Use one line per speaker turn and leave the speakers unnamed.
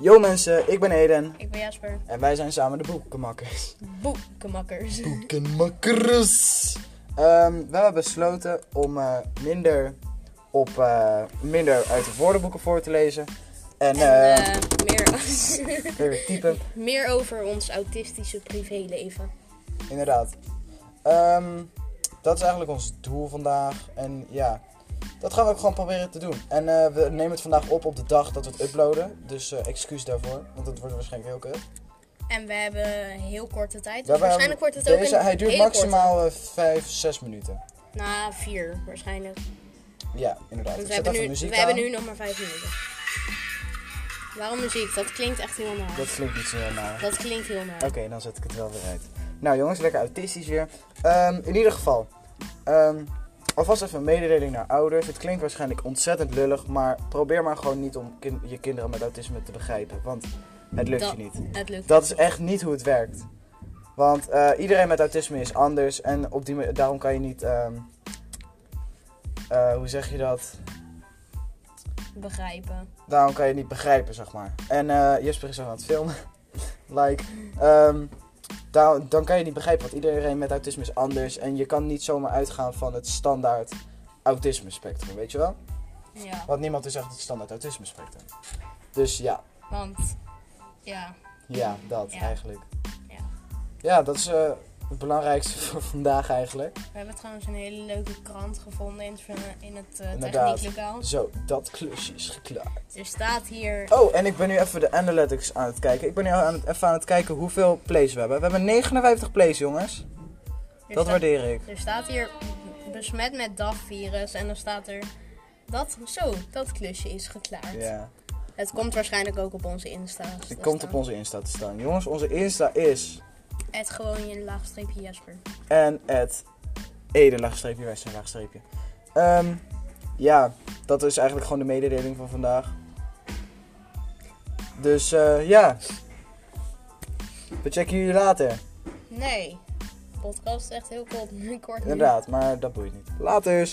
Yo mensen, ik ben Eden
Ik ben Jasper.
en wij zijn samen de Boekenmakkers.
Boekenmakkers.
Boekenmakkers! Ehm, we hebben besloten om eh, minder, op, eh, minder uit de woordenboeken voor te lezen. En,
En
eh
eh, meer,
weer typen,
meer over ons autistische privéleven.
inderdaad. Ehm, dat is eigenlijk ons doel vandaag. En ja, dat gaan we ook gewoon proberen te doen. En eh, we nemen het vandaag op op de dag dat we het uploaden. Dus eh, excuus daarvoor, want het wordt waarschijnlijk heel kut.
En we hebben een heel korte tijd. Dus
Ja, maar
waarschijnlijk wordt het ook
Deze,
een
hij duurt
hele
maximaal eh, 5, 6 minuten.
korte- Nou, vier waarschijnlijk.
Ja, inderdaad.
Want
Ik zet
we, hebben
even
nu,
muziek
we hebben
aan.
nu nog maar vijf minuten. Waarom muziek? Dat klinkt echt heel naar.
Dat klinkt niet zo heel naar.
Dat klinkt heel naar.
Oké, dan zet ik het wel weer uit. Nou jongens, lekker autistisch weer. Ehm, in ieder geval, ehm, alvast even een mededeling naar ouders. Het klinkt waarschijnlijk ontzettend lullig, maar probeer maar gewoon niet om kin- je kinderen met autisme te begrijpen. Want het lukt
Dat-
je niet.
Het lukt.
Dat is echt niet hoe het werkt. Want eh, iedereen met autisme is anders en op die ma- daarom kan je niet. ehm, eh, hoe zeg je dat?
Begrijpen.
daarom kan je het niet begrijpen, zeg maar. En eh Jesper is aan het filmen. like, ehm, daar- dan kan je niet begrijpen, want iedereen met autisme is anders. En je kan niet zomaar uitgaan van het standaard autisme spectrum, weet je wel?
Ja.
Want niemand is echt het standaard autisme spectrum. Dus ja,
Want, ja.
ja, dat
Ja.
eigenlijk.
Ja.
Ja, dat is eh, het belangrijkste voor vandaag eigenlijk.
We hebben trouwens een hele leuke krant gevonden in het, in het eh,
Inderdaad.
technieklokaal.
Zo, dat klusje is geklaard.
Er staat hier
Oh, en ik ben nu even de analytics aan het kijken. Ik ben nu aan het, even aan het kijken hoeveel plays we hebben. We hebben 59 plays, jongens.
Er
Dat
sta-
waardeer ik.
Er staat hier besmet met DAF-virus en dan staat er dat zo, dat klusje is geklaard.
Ja.
Het komt waarschijnlijk ook op onze Insta. Dus
Het komt op onze Insta te staan. Jongens, onze Insta is.
Het gewoon je laagstreepje Jasper.
En het. Eden laagstreepje, wij zijn laagstreepje. Ehm, ja, dat is eigenlijk gewoon de mededeling van vandaag. Dus eh, ja. We checken jullie later.
Nee, podcast is echt heel kort, kort nu.
Inderdaad, maar dat boeit niet. Laters.